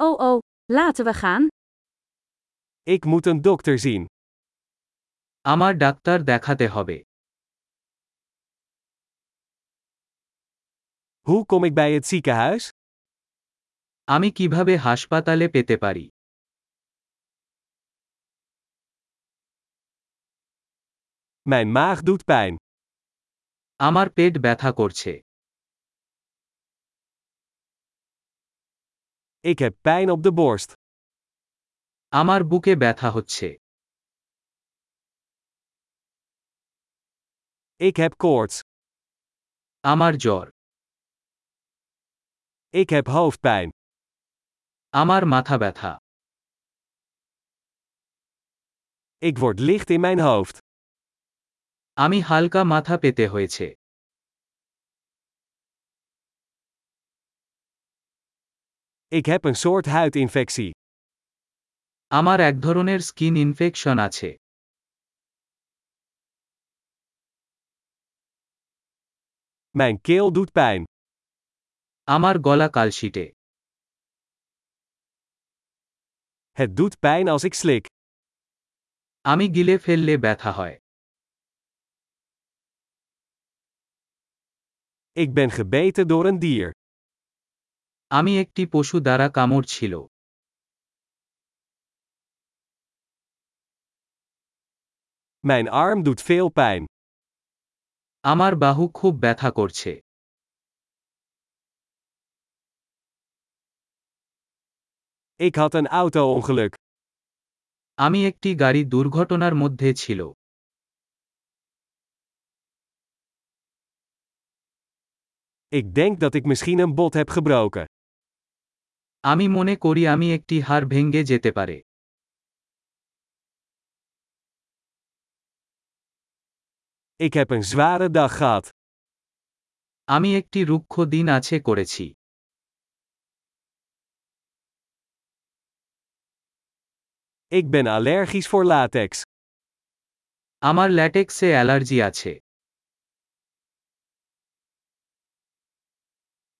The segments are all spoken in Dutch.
Oh oh, laten we gaan. Ik moet een dokter zien. আমার doctor দেখাতে হবে Hoe kom ik bij het ziekenhuis? আমি কিভাবে হাসপাতালে পেতে পারি Mijn maag doet pijn. আমার পেট ব্যথা করছে Ik heb pijn op de borst. আমার বুকে ব্যথা হচ্ছে Ik heb koorts. আমার জ্বর Ik heb hoofdpijn. আমার মাথা ব্যথা Ik word licht in mijn hoofd. আমি হালকা মাথা পেতে হয়েছে Ik heb een soort huidinfectie. আমার এক ধরনের স্কিন ইনফেকশন আছে Mijn keel doet pijn. আমার গলা কালশিটে Het doet pijn als ik slik. আমি গিলে ফেললে ব্যথা হয় Ik ben gebeten door een dier. আমি একটি পশু দ্বারা কামড় ছিল Mijn arm doet veel pijn. আমার বাহু খুব ব্যথা করছে Ik had een auto-ongeluk. আমি একটি গাড়ি দুর্ঘটনার মধ্যে ছিল Ik denk dat ik misschien een bot heb gebroken. আমি মনে করি আমি একটি হাড় ভেঙে যেতে পারে Ik heb een zware dag gehad. আমি একটি রুক্ষ দিন আছে করেছি Ik ben allergisch voor latex. আমার ল্যাটেক্সে অ্যালার্জি আছে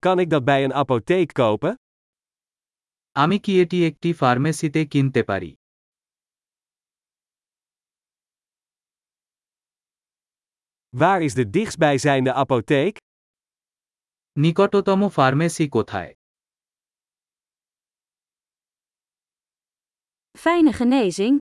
Kan ik dat bij een apotheek kopen? আমি কি এটি একটি ফার্মেসিতে কিনতে পারি Waar is de dichtstbijzijnde apotheek? নিকটতম ফার্মেসি কোথায় Fijne genezing,